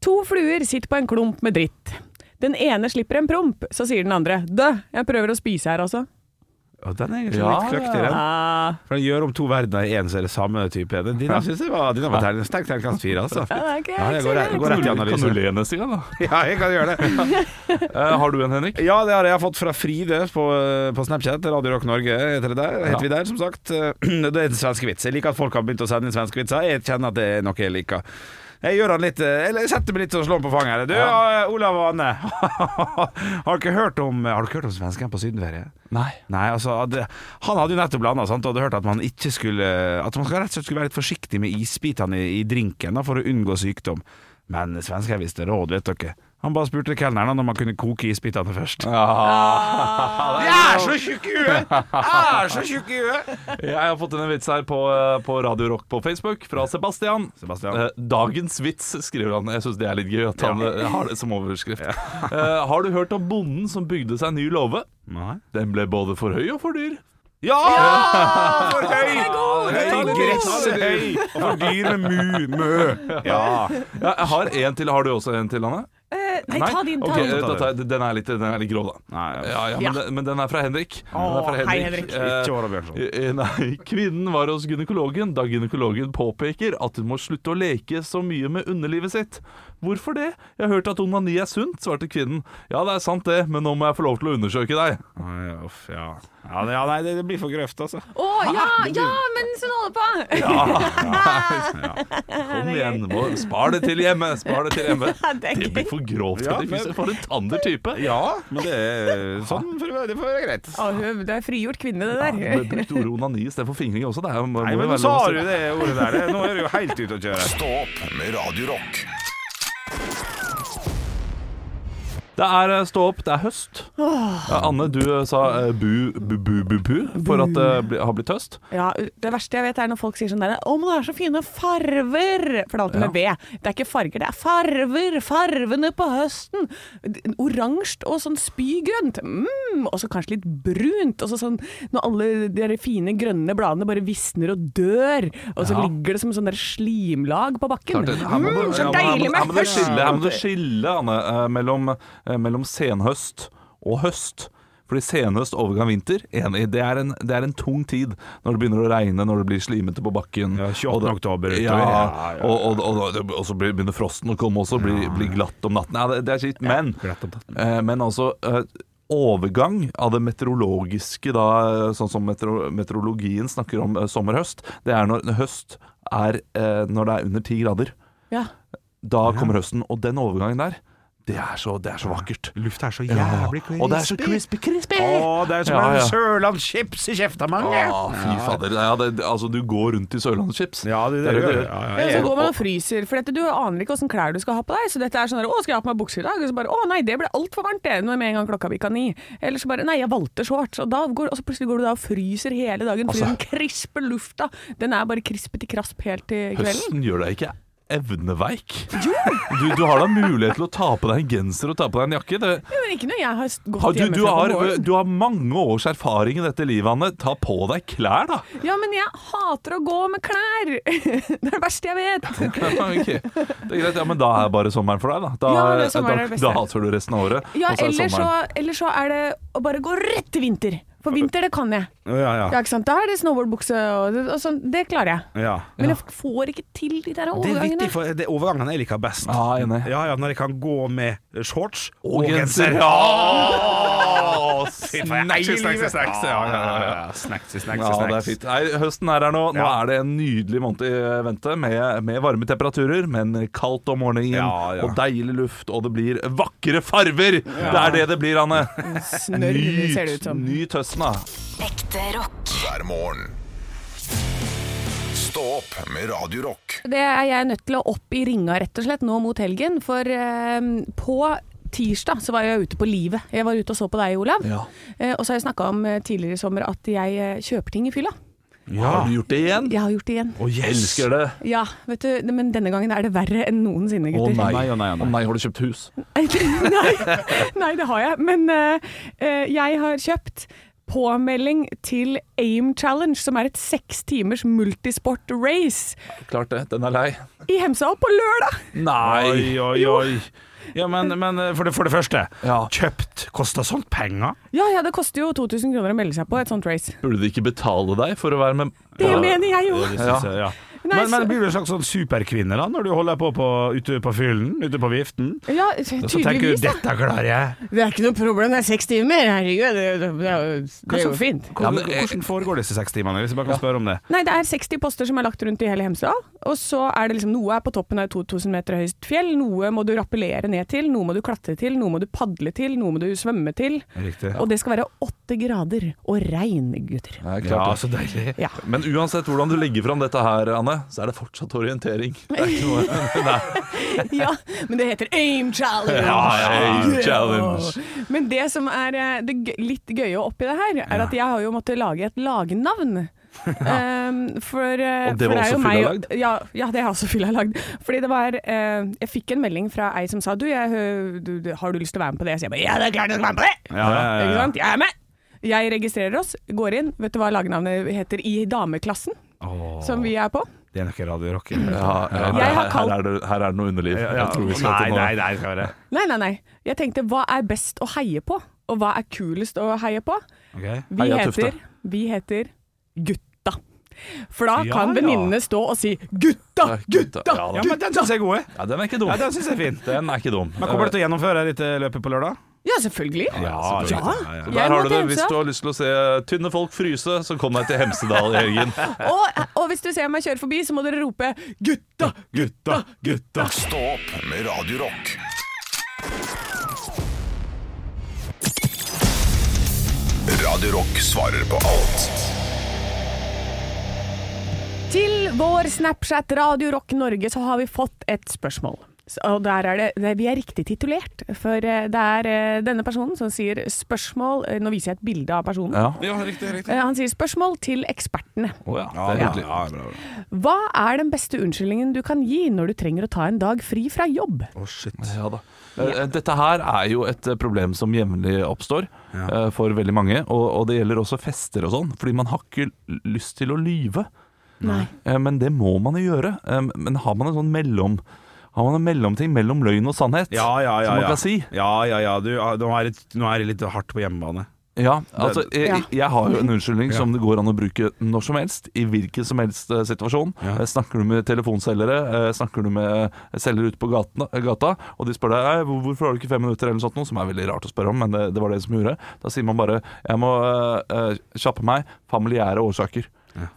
Speaker 6: To fluer sitter på en klump med dritt. Den ene slipper en promp, så sier den andre Dø, jeg prøver å spise her altså.
Speaker 5: Eh, Og den er egentlig
Speaker 9: Ja,
Speaker 5: litt kløktig, den.
Speaker 6: Ah,
Speaker 5: For den gjør om to verdener i én, så er det samme type. Den- Dine synes jeg var, dine var terning- sterk terningkast fire, altså.
Speaker 6: ja, det er ikke-
Speaker 5: Ja, jeg
Speaker 6: ikke
Speaker 5: går,
Speaker 6: så
Speaker 5: jeg går
Speaker 6: gærent.
Speaker 9: Kan du,
Speaker 5: rett i
Speaker 9: kan du
Speaker 5: analyse.
Speaker 9: le neste gang, da?
Speaker 5: Ja, jeg kan gjøre det.
Speaker 9: Eh, har du en, Henrik?
Speaker 5: Ja, det har jeg fått fra Fride på, på Snapchat. Radio Rock Norge heter, det der, heter vi der, som sagt. Eh, Det er en svensk vits. Jeg liker at folk har begynt å sende inn svenske vitser. Jeg kjenner at det er noe jeg liker. Jeg gjør han litt eh, Eller jeg setter meg litt og slår han på fanget. her. Du, eh, Olav og Anne. har dere hørt om eh, Har dere hørt om svensken på sydenferie?
Speaker 4: Nei.
Speaker 5: Nei, altså hadde, Han hadde jo nettopp landa sant, og hadde hørt at man ikke skulle At man skal rett og slett skulle være litt forsiktig med isbitene i, i drinken da, for å unngå sykdom. Men svensker visste råd, vet dere. Han bare spurte kelneren da, om han kunne koke isbitene først. Ah. Jeg er så tjukk i huet! Jeg er så tjukk i huet!
Speaker 4: Jeg har fått inn en vits her på, eh, på Radio Rock på Facebook fra Sebastian.
Speaker 5: Sebastian.
Speaker 4: Eh, Dagens vits, skriver han. Jeg syns det er litt gøy at han eh, har det som overskrift. Eh, har du hørt om bonden som bygde seg ny låve?
Speaker 5: Nei.
Speaker 4: Den ble både for høy og for dyr.
Speaker 5: Ja! For høy! Høy gress er høy! Og for dyr med mu, mø. Ja.
Speaker 4: Ja, jeg har en til. Har du også en til, Anne?
Speaker 6: Eh, Nei, ta din, ta
Speaker 4: Ok,
Speaker 6: din.
Speaker 4: eh, da tar jeg- den, er litt, den er litt grå, da.
Speaker 5: Nei,
Speaker 4: ja, ja, men,
Speaker 6: Ja.
Speaker 4: Den, men den er fra Henrik. Den er fra
Speaker 6: Åh, hei, Henrik.
Speaker 4: Eh,
Speaker 5: Ikke Åra Bjørnson.
Speaker 4: Eh, Nei, kvinnen var hos gynekologen da gynekologen påpeker at hun må slutte å leke så mye med underlivet sitt. Hvorfor det? Jeg har hørt at onani er sunt, svarte kvinnen. Ja, det er sant det, men nå må jeg få lov til å undersøke deg.
Speaker 5: Nei, uff, ja. Ja, det- ja, nei, det det blir for grøft, altså.
Speaker 6: Å ja, ja, mens hun holder på!
Speaker 4: Kom igjen, må, spar det til hjemme, spar det til hjemme.
Speaker 6: det er
Speaker 4: Det blir for grovt,
Speaker 5: Ja,
Speaker 4: Henrik
Speaker 5: men-
Speaker 4: Fischer. For en tander type.
Speaker 5: Ja, men det er sånn får det det får være greit.
Speaker 6: Å, hun- det er frigjort kvinne, det
Speaker 4: Ja,
Speaker 6: der.
Speaker 4: men Brukte ordet onani istedenfor fingring også. Det er, jo- må
Speaker 5: Nei,
Speaker 4: jo
Speaker 5: men
Speaker 4: være
Speaker 5: nå sa
Speaker 4: lov å
Speaker 5: du
Speaker 4: si.
Speaker 5: det ordet der. Det- Nå er du jo helt ute å kjøre.
Speaker 2: Stå opp med Radio Rock.
Speaker 4: Det er eh, stå opp, det er høst. Ja, Anne, du eh, sa eh, bu, bu, bu, bu, bu for at det bli- har blitt høst.
Speaker 6: Ja, Det verste jeg vet, er når folk sier sånn der Å, men det er så fine farver! For det er alltid med V. Det er ikke farger, det er farver! Farvene på høsten! Oransje og sånn spygrønt. Mm, og så kanskje litt brunt. Og så sånn når alle de der fine grønne bladene bare visner og dør, og så ligger det som sånn der slimlag på bakken. Mm, så deilig
Speaker 4: Her må
Speaker 6: med
Speaker 4: du
Speaker 6: høst!
Speaker 4: skille, her må du skille Anne, eh, mellom, eh, mellom senhøst og høst. Fordi senhøst, overgang vinter, enig, det er, en, det er en tung tid. Når det begynner å regne, når det blir slimete på bakken.
Speaker 5: Ja, 28.
Speaker 4: Og det-
Speaker 5: oktober utover.
Speaker 4: Ja,
Speaker 5: Ja, ja, ja.
Speaker 4: Og, og, og, og, og så blir- begynner frosten å komme også, blir, blir glatt om natten. Ja, det, det er kjipt, men,
Speaker 5: glatt om natten.
Speaker 4: eh, men altså eh, Overgang av det meteorologiske, da, eh, sånn som metero, meteorologien snakker om eh, sommer-høst, det er når høst er eh, når det er under ti grader.
Speaker 6: Ja.
Speaker 4: Da kommer høsten, og den overgangen der, det er så, det er så vakkert.
Speaker 5: Lufta er så
Speaker 4: Ja,
Speaker 5: jævlig
Speaker 4: Og det er så
Speaker 5: crispy.
Speaker 4: crispy, crispy!
Speaker 5: Å, det er som
Speaker 4: Ja,
Speaker 5: en
Speaker 4: ja.
Speaker 5: sørlandschips i kjefta, mange.
Speaker 4: Å, fy fader. Ja, det, det- altså, du går rundt i sørlandschips.
Speaker 5: Ja, det, det,
Speaker 4: er
Speaker 5: gjør
Speaker 4: du
Speaker 5: det. Ja, ja,
Speaker 6: Ja,
Speaker 5: jeg-
Speaker 6: så går man og fryser, for dette, du aner ikke åssen klær du skal ha på deg. Så dette er sånn der, 'Å, skal jeg ha på meg bukse i dag?' Og så bare 'Å nei, det ble altfor varmt, det', når med en gang klokka bikka ni. Eller så bare 'Nei, jeg valgte shorts', og, da går, og så plutselig går du da og fryser hele dagen. Fordi
Speaker 4: Altså-
Speaker 6: den krispe lufta, den er bare krispet i krasp helt til kvelden.
Speaker 4: Høsten gjør deg ikke evneveik. Du, du har da mulighet til å ta på deg en genser og ta på deg en jakke. Det,
Speaker 6: Ja, men ikke når jeg har s-
Speaker 4: har,
Speaker 6: gått
Speaker 4: du, du,
Speaker 6: hjemmefra på
Speaker 4: har,
Speaker 6: morgenen.
Speaker 4: du har mange års erfaring i dette livet, Anne. Ta på deg klær, da.
Speaker 6: Ja, men jeg hater å gå med klær! det er det verste jeg vet.
Speaker 4: Ok, Det er greit, ja, Men da er bare sommeren for deg, da. Da,
Speaker 6: Ja, det er sommeren er det
Speaker 4: da,
Speaker 6: beste.
Speaker 4: da hater du resten av året.
Speaker 6: Ja,
Speaker 4: og så er Altså,
Speaker 6: eller
Speaker 4: sommeren.
Speaker 6: så, eller så er det å bare gå rett til vinter. For vinter, det kan jeg.
Speaker 5: ja,
Speaker 6: Ja, ikke sant? Da er det snowboardbukse og, og sånn. Det klarer jeg.
Speaker 5: ja. ja.
Speaker 6: Men jeg får ikke til de der
Speaker 5: Det er
Speaker 6: overgangene.
Speaker 5: viktig, for det er overgangene jeg liker best.
Speaker 4: Ja, enig.
Speaker 5: Ja, ja, når jeg kan gå med shorts
Speaker 4: Og genser.
Speaker 5: Ja!
Speaker 4: Å, snacks i snacks i snacks. Ja, ja, ja, ja.
Speaker 5: Snacks i snacks
Speaker 4: Ja, det er fint. Nei, høsten er her nå. Nå
Speaker 5: Ja.
Speaker 4: er det en nydelig måned i vente med, med varme temperaturer, men kaldt om morgenen
Speaker 5: Ja, ja.
Speaker 4: og deilig luft, og det blir vakre farver! Det er det det blir, Anne.
Speaker 6: Snørr, ser det ut som.
Speaker 4: nyt høsten, da.
Speaker 1: Ekte rock.
Speaker 2: hver morgen. Stå opp med Radio Rock.
Speaker 6: Det er jeg nødt til å opp i ringa rett og slett nå mot helgen, for eh, på tirsdag så var jeg ute på livet. Jeg var ute og så på deg, Olav. Eh, og så har jeg snakka om eh, tidligere i sommer at jeg eh, kjøper ting i fylla.
Speaker 4: Har du gjort det igjen?
Speaker 6: Jeg har gjort det igjen.
Speaker 4: Å, jeg elsker det!
Speaker 6: Ja, vet du, men denne gangen er det verre enn noensinne,
Speaker 4: Å
Speaker 6: gutter.
Speaker 4: nei.
Speaker 5: Nei, å nei, å nei.
Speaker 4: Å nei, har du kjøpt hus?
Speaker 6: nei, nei, det har jeg. Men eh, eh, jeg har kjøpt påmelding til AIM Challenge, som er et seks timers multisport-race
Speaker 4: Klart det. Den er lei.
Speaker 6: i Hemsedal på lørdag.
Speaker 5: Oi, oi, oi. Ja, men, men eh, for, det, for det første,
Speaker 4: Ja.
Speaker 5: kjøpt koster sånt penger.
Speaker 6: Ja, ja, det koster jo 2000 kroner å melde seg på et sånt race.
Speaker 4: Burde de ikke betale deg for å være med?
Speaker 6: Det mener jeg jo.
Speaker 5: synes jeg, ja.
Speaker 6: Nei,
Speaker 5: Men, men
Speaker 6: så-
Speaker 5: blir du en slags sånn superkvinne da, når du holder på, på ute på fyllen, ute på viften?
Speaker 6: Ja,
Speaker 5: Så tenker
Speaker 6: tydeligvis,
Speaker 5: du
Speaker 6: da.
Speaker 5: 'dette klarer jeg'.
Speaker 6: Det er ikke noe problem, det er seks timer. Herregud, det, det, det, er jo- det er jo fint.
Speaker 4: Ja,
Speaker 5: Hvordan,
Speaker 4: men, eh,
Speaker 5: hvordan foregår disse seks timene? Hvis jeg bare kan spørre om det.
Speaker 6: Nei, det er 60 poster som er lagt rundt i hele Hemsedal. Og så er det liksom noe er på toppen av et 2000 meter høyt fjell. Noe må du rappellere ned til, noe må du klatre til, noe må du padle til, noe må du svømme til.
Speaker 5: Riktig.
Speaker 6: Og det skal være åtte grader og regn, gutter.
Speaker 4: Nei, klart
Speaker 5: Ja,
Speaker 4: det.
Speaker 5: så deilig.
Speaker 6: Ja.
Speaker 4: Men uansett hvordan du legger fram dette her, Anne, så er det fortsatt orientering. Det er ikke noe
Speaker 6: ja, men det heter AIM Challenge!
Speaker 4: Nei, challenge.
Speaker 6: Ja. Men det som er eh, det gøy- litt gøye oppi det her, er at jeg har jo måttet lage et lagnavn. Ehm, for, eh,
Speaker 4: Og det
Speaker 6: for
Speaker 4: var
Speaker 6: er jo
Speaker 4: også
Speaker 6: meg-
Speaker 4: fylla lagd?
Speaker 6: Ja, ja, det har også fylla lagd. Fordi det var eh, Jeg fikk en melding fra ei som sa du, jeg, hø- du, du, har du lyst til å være med på det? Så jeg bare ja, det er klart jeg skal være med på
Speaker 5: Ja,
Speaker 6: det!
Speaker 5: ja, ja,
Speaker 6: Ikke
Speaker 5: ja.
Speaker 6: sant? Jeg er med! Jeg registrerer oss, går inn. Vet du hva lagnavnet heter i dameklassen?
Speaker 5: Åh,
Speaker 6: Som vi er på.
Speaker 5: det er nok Radio Rock.
Speaker 4: Ja, ja,
Speaker 6: Jeg har
Speaker 4: her, her,
Speaker 6: kalt-
Speaker 4: er det, her er det noe underliv.
Speaker 5: Ja, ja.
Speaker 4: Jeg tror vi skal
Speaker 5: nei,
Speaker 4: til noe.
Speaker 5: nei, nei, skal være.
Speaker 6: Nei, nei, nei. Jeg tenkte hva er best å heie på? Og hva er kulest å heie på?
Speaker 5: Ok.
Speaker 6: Vi
Speaker 4: Heia
Speaker 6: heter,
Speaker 4: Tufte.
Speaker 6: vi heter gutta. For da
Speaker 5: Ja,
Speaker 6: kan
Speaker 5: ja.
Speaker 6: venninnene stå og si 'gutta, gutta'!
Speaker 4: Ja, da.
Speaker 5: Ja, men den syns jeg er god. jeg.
Speaker 4: ja, den er ikke dum.
Speaker 5: Ja, den synes jeg er fin.
Speaker 4: Den er ikke dum.
Speaker 5: Men kommer du til å gjennomføre dette løpet på lørdag?
Speaker 6: Ja, selvfølgelig.
Speaker 5: Ja,
Speaker 4: selvfølgelig.
Speaker 5: ja, ja, ja.
Speaker 4: Så Der
Speaker 6: Jeg må sånn.
Speaker 4: har du det.
Speaker 6: til
Speaker 4: Hvis
Speaker 6: Hemsedal.
Speaker 4: du har lyst til å se tynne folk fryse, så kom deg til Hemsedal i helgen.
Speaker 6: Og, og hvis du ser meg kjøre forbi, så må dere rope 'gutta'!
Speaker 5: Gutta, gutta.
Speaker 2: Stå opp med Radio Rock. Radio Rock svarer på alt
Speaker 6: Til vår Snapchat Radio Rock Norge så har vi fått et spørsmål. Så- Og der er det, det, Vi er riktig titulert, for eh, det er eh, denne personen som sier 'spørsmål' eh, Nå viser jeg et bilde av personen.
Speaker 4: Ja.
Speaker 6: Eh, Han sier 'spørsmål til ekspertene'.
Speaker 4: Å ja, det er hyggelig.
Speaker 6: Hva er den beste unnskyldningen du kan gi når du trenger å ta en dag fri fra jobb?
Speaker 4: Ja da. Eh, Dette her er jo et eh, problem som jevnlig oppstår eh, for veldig mange, og, og det gjelder også fester og sånn, fordi man har ikke l- lyst til å lyve.
Speaker 6: Nei.
Speaker 4: Eh, Men det må man jo gjøre. Eh, Men har man en sånn mellom Har man en mellomting mellom løgn og sannhet?
Speaker 5: Ja, ja, ja.
Speaker 4: Som man
Speaker 5: ja.
Speaker 4: kan si.
Speaker 5: Ja, ja, ja. Du, ah, nå, er det, nå er det litt hardt på hjemmebane.
Speaker 4: Ja, altså jeg,
Speaker 6: Ja.
Speaker 4: jeg har jo en unnskyldning
Speaker 5: Ja.
Speaker 4: som det går an å bruke når som helst, i hvilken som helst eh, situasjon.
Speaker 5: Ja.
Speaker 4: Eh, Snakker du med telefonselgere, eh, snakker du med selgere ute på gatene, eh, gata, og de spør deg «Ei, hvor- 'hvorfor har du ikke fem minutter' eller noe sånt, noe som er veldig rart å spørre om, men det, det var det som gjorde. Da sier man bare 'jeg må eh, eh, kjappe meg', familiære årsaker.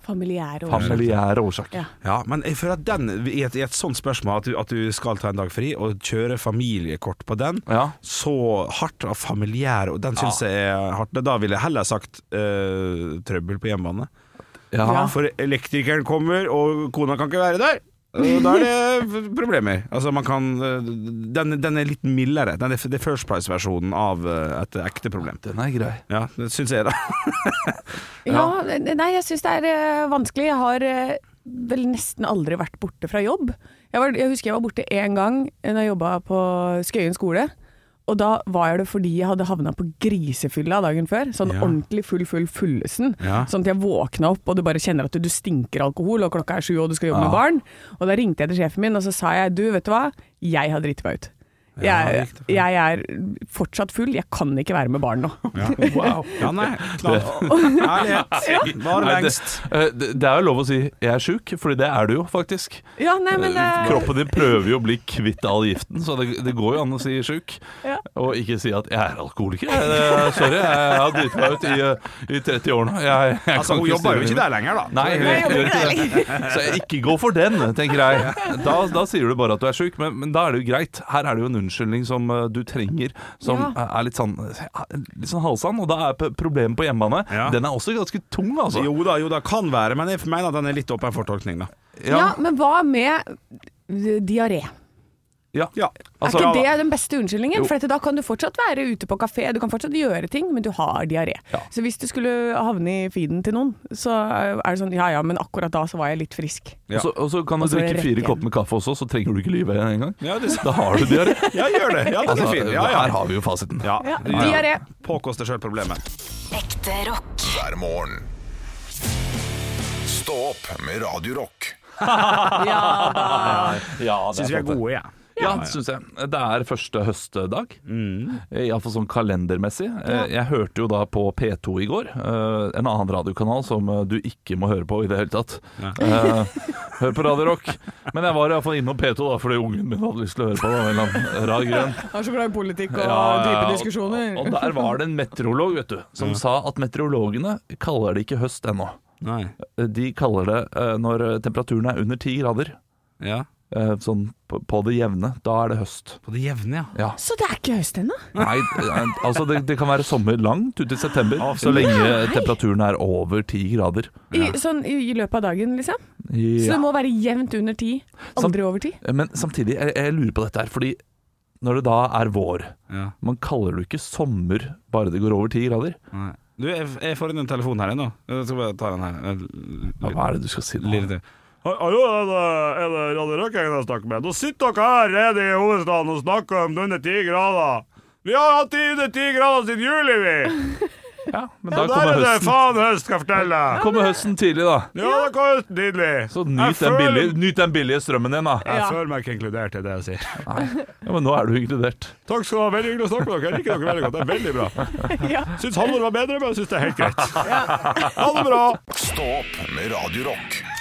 Speaker 6: Familiære årsaker.
Speaker 4: Familiære årsaker.
Speaker 6: Ja.
Speaker 5: Ja, men jeg føler at den, i et, i et sånt spørsmål, at du, at du skal ta en dag fri og kjøre familiekort på den,
Speaker 4: Ja.
Speaker 5: så hardt av familiær, og den syns jeg er hardt. Da ville jeg heller sagt eh, trøbbel på hjemmebane.
Speaker 4: Ja.
Speaker 6: Ja.
Speaker 5: For elektrikeren kommer, og kona kan ikke være der. Og Da er det problemer. Altså man kan eh, Den, den er litt mildere. Den er, det er First Price-versjonen av eh, et ekte problem.
Speaker 4: Den er grei.
Speaker 5: Ja, det syns jeg, da.
Speaker 6: Ja, nei, jeg syns det er eh, vanskelig. Jeg har eh, vel nesten aldri vært borte fra jobb. Jeg, var, jeg husker jeg var borte én gang eh, når jeg jobba på Skøyen skole. Og da var det fordi jeg hadde havna på grisefylla dagen før. Sånn
Speaker 5: Ja.
Speaker 6: ordentlig full, full fullesen.
Speaker 5: Ja.
Speaker 6: Sånn at jeg våkna opp, og du bare kjenner at du, du stinker alkohol, og klokka er sju, og du skal jobbe med barn. Og da ringte jeg til sjefen min, og så sa jeg du, vet du hva, jeg har driti meg ut. Jeg,
Speaker 5: riktig.
Speaker 6: jeg er fortsatt full, jeg kan ikke være med barn nå.
Speaker 5: Ja. Wow. Ja, nei. Klar. Ærlighet. Var
Speaker 4: Nei,
Speaker 5: lengst.
Speaker 4: Eh, Det, det er jo lov å si 'jeg er sjuk', Fordi det er du jo faktisk.
Speaker 6: Ja, nei, men
Speaker 4: Eh,
Speaker 6: eh,
Speaker 4: Kroppen din prøver jo å bli kvitt all giften, så det, det går jo an å si sjuk.
Speaker 6: Ja.
Speaker 4: Og ikke si at 'jeg er alkoholiker'. Eh, Sorry, jeg har driti meg ut i, eh, i 30 år nå. Jeg, jeg
Speaker 5: Altså,
Speaker 4: kan
Speaker 5: hun jobber jo
Speaker 4: styre
Speaker 5: ikke
Speaker 4: livet.
Speaker 5: der lenger, da.
Speaker 4: Nei, hun
Speaker 6: Nei, jeg
Speaker 4: gjør
Speaker 6: jobber
Speaker 4: ikke det. Så jeg ikke gå for den, tenker jeg. Da, da sier du bare at du er sjuk, men, men da er det jo greit. Her er det jo en unnskyldning som eh, du trenger, som
Speaker 6: Ja.
Speaker 4: eh, er litt sånn, eh, litt sånn halvsann. Og da er p- problemet på hjemmebane
Speaker 5: Ja.
Speaker 4: Den er også ganske tung, altså.
Speaker 5: Jo da, jo da, kan være, men jeg mener at den er litt åpen for tolkning, da.
Speaker 6: ja, men hva med eh, diaré?
Speaker 4: Ja.
Speaker 5: Ja.
Speaker 4: Altså,
Speaker 6: er ikke
Speaker 4: ja,
Speaker 6: det den beste unnskyldningen? For at da kan du fortsatt være ute på kafé, du kan fortsatt gjøre ting, men du har diaré. Så hvis du skulle havne i feeden til noen, så er det sånn ja ja, men akkurat da så var jeg litt frisk.
Speaker 4: Og så- Og så kan du
Speaker 6: Og så er det
Speaker 4: drikke fire
Speaker 6: rett igjen.
Speaker 4: kopper med kaffe også, så trenger du ikke lyve engang.
Speaker 5: Ja, det-
Speaker 4: Da har du diaré.
Speaker 5: Ja, gjør det. Ja, den
Speaker 4: Altså,
Speaker 5: er fin. Ja,
Speaker 4: Her
Speaker 5: ja.
Speaker 4: har vi jo fasiten.
Speaker 5: ja.
Speaker 6: Ja,
Speaker 5: ja.
Speaker 6: diaré.
Speaker 5: Påkost deg sjøl problemet.
Speaker 1: Ekte rock.
Speaker 2: hver morgen. Stå opp med Radio Rock.
Speaker 6: Ja da.
Speaker 4: Ja, det
Speaker 5: Syns vi er gode, jeg. Ja. Mm.
Speaker 4: Ja, synes jeg. Det er første høstdag. Iallfall sånn kalendermessig. Eh, Jeg hørte jo da på P2 i går, eh, en annen radiokanal som eh, du ikke må høre på i det hele tatt. Eh, Hør på Radio Rock. Men jeg var iallfall innom P2 da, fordi ungen min hadde lyst til å høre på. Da, en eller annen rar grunn.
Speaker 6: Er så glad i politikk og
Speaker 4: Ja, ja, ja.
Speaker 6: dype diskusjoner.
Speaker 4: Og, og der var det en meteorolog vet du, som sa at meteorologene kaller det ikke høst ennå.
Speaker 5: Nei.
Speaker 4: De kaller det eh, når temperaturen er under ti grader,
Speaker 5: Ja.
Speaker 4: eh, sånn på, på det jevne. Da er det høst.
Speaker 5: På det jevne, ja.
Speaker 4: Ja.
Speaker 6: Så det er ikke høst ennå?
Speaker 4: Nei, altså det, det kan være sommer langt ut i september, så lenge temperaturen er over 10 grader.
Speaker 6: I, sånn i, i løpet av dagen, liksom? Så
Speaker 4: Ja.
Speaker 6: det må være jevnt under ti? Aldri over ti?
Speaker 4: Eh, Men samtidig, jeg, jeg lurer på dette her, fordi når det da er vår,
Speaker 5: Ja.
Speaker 4: man kaller det jo ikke sommer bare det går over 10 grader.
Speaker 5: Nei. Du, jeg, jeg får inn en telefon her ennå. Jeg skal bare ta den her. En
Speaker 4: Ja,
Speaker 5: l-
Speaker 4: Hva er det du skal si nå?
Speaker 5: Lille til.
Speaker 10: Hallo, er det, er det Radio Rock jeg kan snakke med? Nå sitter dere her nede i hovedstaden og snakker om under ti grader. Vi har hatt det under ti grader siden juli, vi!
Speaker 4: Ja, men da
Speaker 10: Og der
Speaker 4: kommer
Speaker 10: er det
Speaker 4: høsten,
Speaker 10: faen høst, skal jeg fortelle deg.
Speaker 4: kommer høsten tidlig da.
Speaker 10: Ja, det kom høsten tidlig.
Speaker 4: Så
Speaker 10: Jeg
Speaker 4: nyt den,
Speaker 10: føler-
Speaker 4: billige, nyt den billige strømmen din da.
Speaker 10: Jeg
Speaker 6: Ja.
Speaker 10: føler meg ikke inkludert i det jeg sier.
Speaker 4: Ja, men nå er du inkludert.
Speaker 10: Takk skal du ha, veldig hyggelig å snakke med dere. Jeg liker dere veldig godt, det er veldig bra.
Speaker 6: Ja.
Speaker 10: Syns Halvor var bedre, men jeg syns det er helt greit. Ha det bra.
Speaker 2: Stå opp med Radio Rock.